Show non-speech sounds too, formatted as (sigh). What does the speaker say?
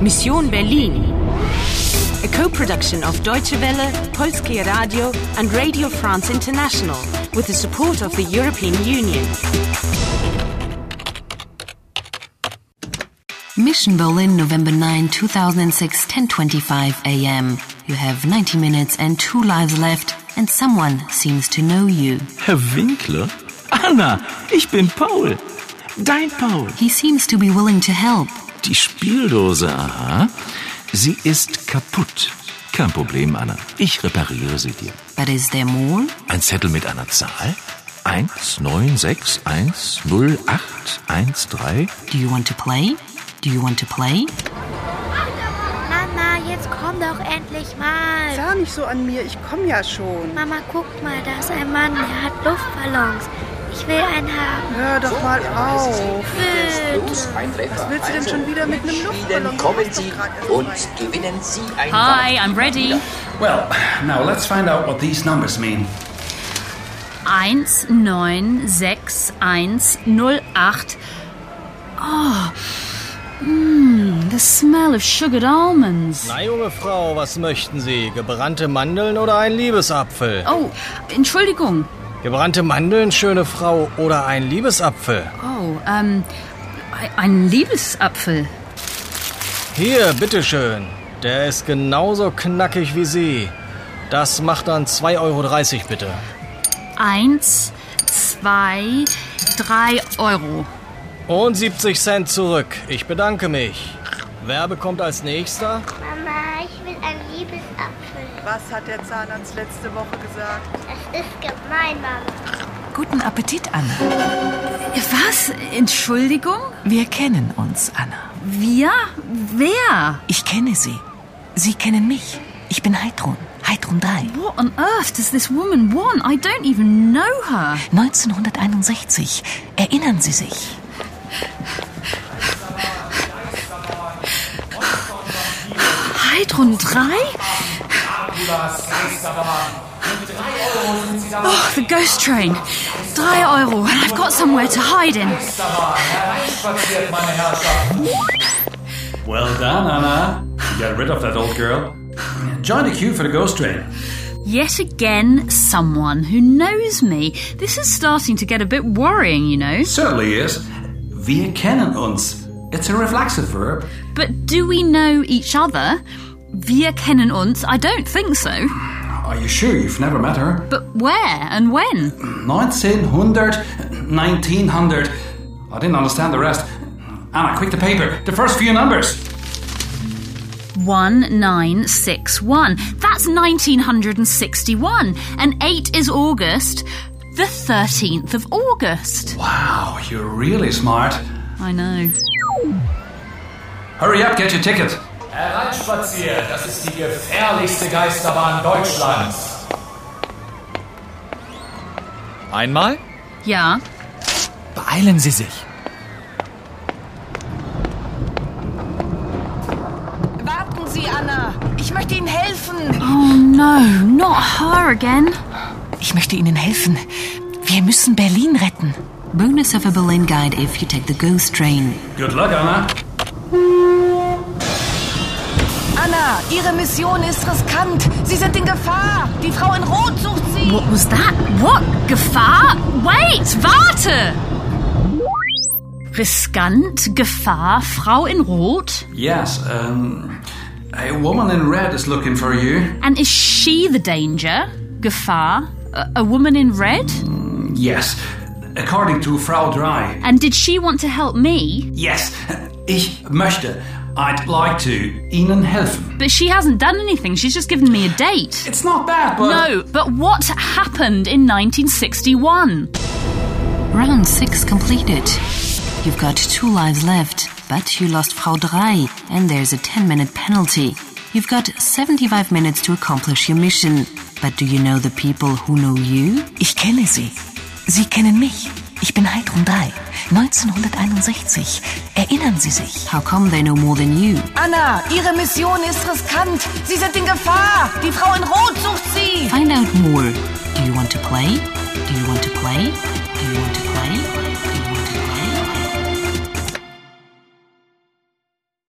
Mission Berlin. A co-production of Deutsche Welle, Polskie Radio and Radio France International with the support of the European Union. Mission Berlin, November 9, 2006, 10:25 a.m. You have 90 minutes and two lives left, and someone seems to know you. Herr Winkler? Anna, ich bin Paul. Dein Paul. He seems to be willing to help. Die Spieldose, aha. Sie ist kaputt. Kein Problem, Anna. Ich repariere sie dir. But is there more? Ein Zettel mit einer Zahl? 1, 9, 6, 1, 0, 8, 1, 3. Do you want to play? Do you want to play? Mama, jetzt komm doch endlich mal. Sah nicht so an mir, ich komme ja schon. Mama, guck mal, da ist ein Mann, der hat Luftballons. Ich will einen haben. Hör doch mal auf. Bitte. Ein Treffer. Was willst du denn schon wieder mit einem Luftballon? Spielen, kommen Sie und gewinnen Sie ein Hi, I'm ready. Well, now let's find out what these numbers mean. 196108. Oh, mm, the smell of sugared almonds. Na, junge Frau, was möchten Sie? Gebrannte Mandeln oder ein Liebesapfel? Oh, Entschuldigung. Gebrannte Mandeln, schöne Frau, oder ein Liebesapfel? Oh, ähm, ein Liebesapfel. Hier, bitteschön. Der ist genauso knackig wie Sie. Das macht dann 2,30 Euro, bitte. Eins, zwei, drei Euro. Und 70 Cent zurück. Ich bedanke mich. Wer bekommt als nächster? Mama, ich will einen Liebesapfel. Was hat der Zahnarzt letzte Woche gesagt? Das ist gemein, Mama. Guten Appetit, Anna. Was? Entschuldigung? Wir kennen uns, Anna. Wir? Wer? Ich kenne Sie. Sie kennen mich. Ich bin Heidrun. Heidrun 3. What on earth does this woman want? I don't even know her. 1961. Erinnern Sie sich? Heidrun 3? Oh, the ghost train. Drei Euro, and I've got somewhere to hide in. Well done, Anna. You got rid of that old girl. Join the queue for the ghost train. Yet again, someone who knows me. This is starting to get a bit worrying, you know. Certainly is. Wir kennen uns. It's a reflexive verb. But do we know each other? Wir kennen uns? I don't think so. Are you sure you've never met her? But where and when? 1900, 1900. I didn't understand the rest. Anna, quick the paper. The first few numbers. 1961. That's 1961. And 8 is August, the 13th of August. Wow, Oh, you're really smart. I know. Hurry up, get your ticket. Hereinspaziert, das ist die gefährlichste Geisterbahn Deutschlands. Einmal? Yeah. Beeilen Sie sich. Warten Sie, Anna. Ich möchte Ihnen helfen. Oh no, not her again. Ich möchte Ihnen helfen. Wir müssen Berlin retten. Bonus of a Berlin guide if you take the ghost train. Good luck, Anna. Anna, Ihre Mission ist riskant. Sie sind in Gefahr. Die Frau in Rot sucht Sie. What was that? What? Gefahr? Wait, warte! Riskant, Gefahr, Frau in Rot? Yes, um, a woman in red is looking for you. And is she the danger? Gefahr? A, a woman in red? Yes, according to Frau Drei. And did she want to help me? Yes, (laughs) ich möchte. I'd like to. Ihnen helfen. But she hasn't done anything, she's just given me a date. It's not bad, but. No, but what happened in 1961? Round 6 completed. You've got two lives left, but you lost Frau Drei, and there's a 10 minute penalty. You've got 75 minutes to accomplish your mission. But do you know the people who know you? Ich kenne Sie. Sie kennen mich. Ich bin Heidrun 3. 1961. Erinnern Sie sich? How come they know more than you? Anna, Ihre Mission ist riskant. Sie sind in Gefahr. Die Frau in Rot sucht Sie. Find out more. Do you want to play? Do you want to play? Do you want to play?